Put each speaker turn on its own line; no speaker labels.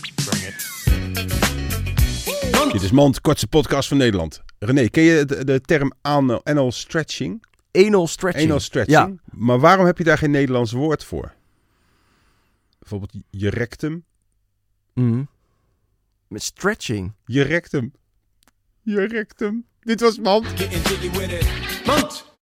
Groningen. Dit is Mand, kortste podcast van Nederland. René, ken je de, de term anal, anal stretching?
Anal stretching.
Anal stretching.
Ja.
Maar waarom heb je daar geen Nederlands woord voor? Bijvoorbeeld je rectum. Mm-hmm.
Mhm. Met stretching.
Je rectum. Je rectum. Dit was Mand.
Getting jiggy with it. Munt!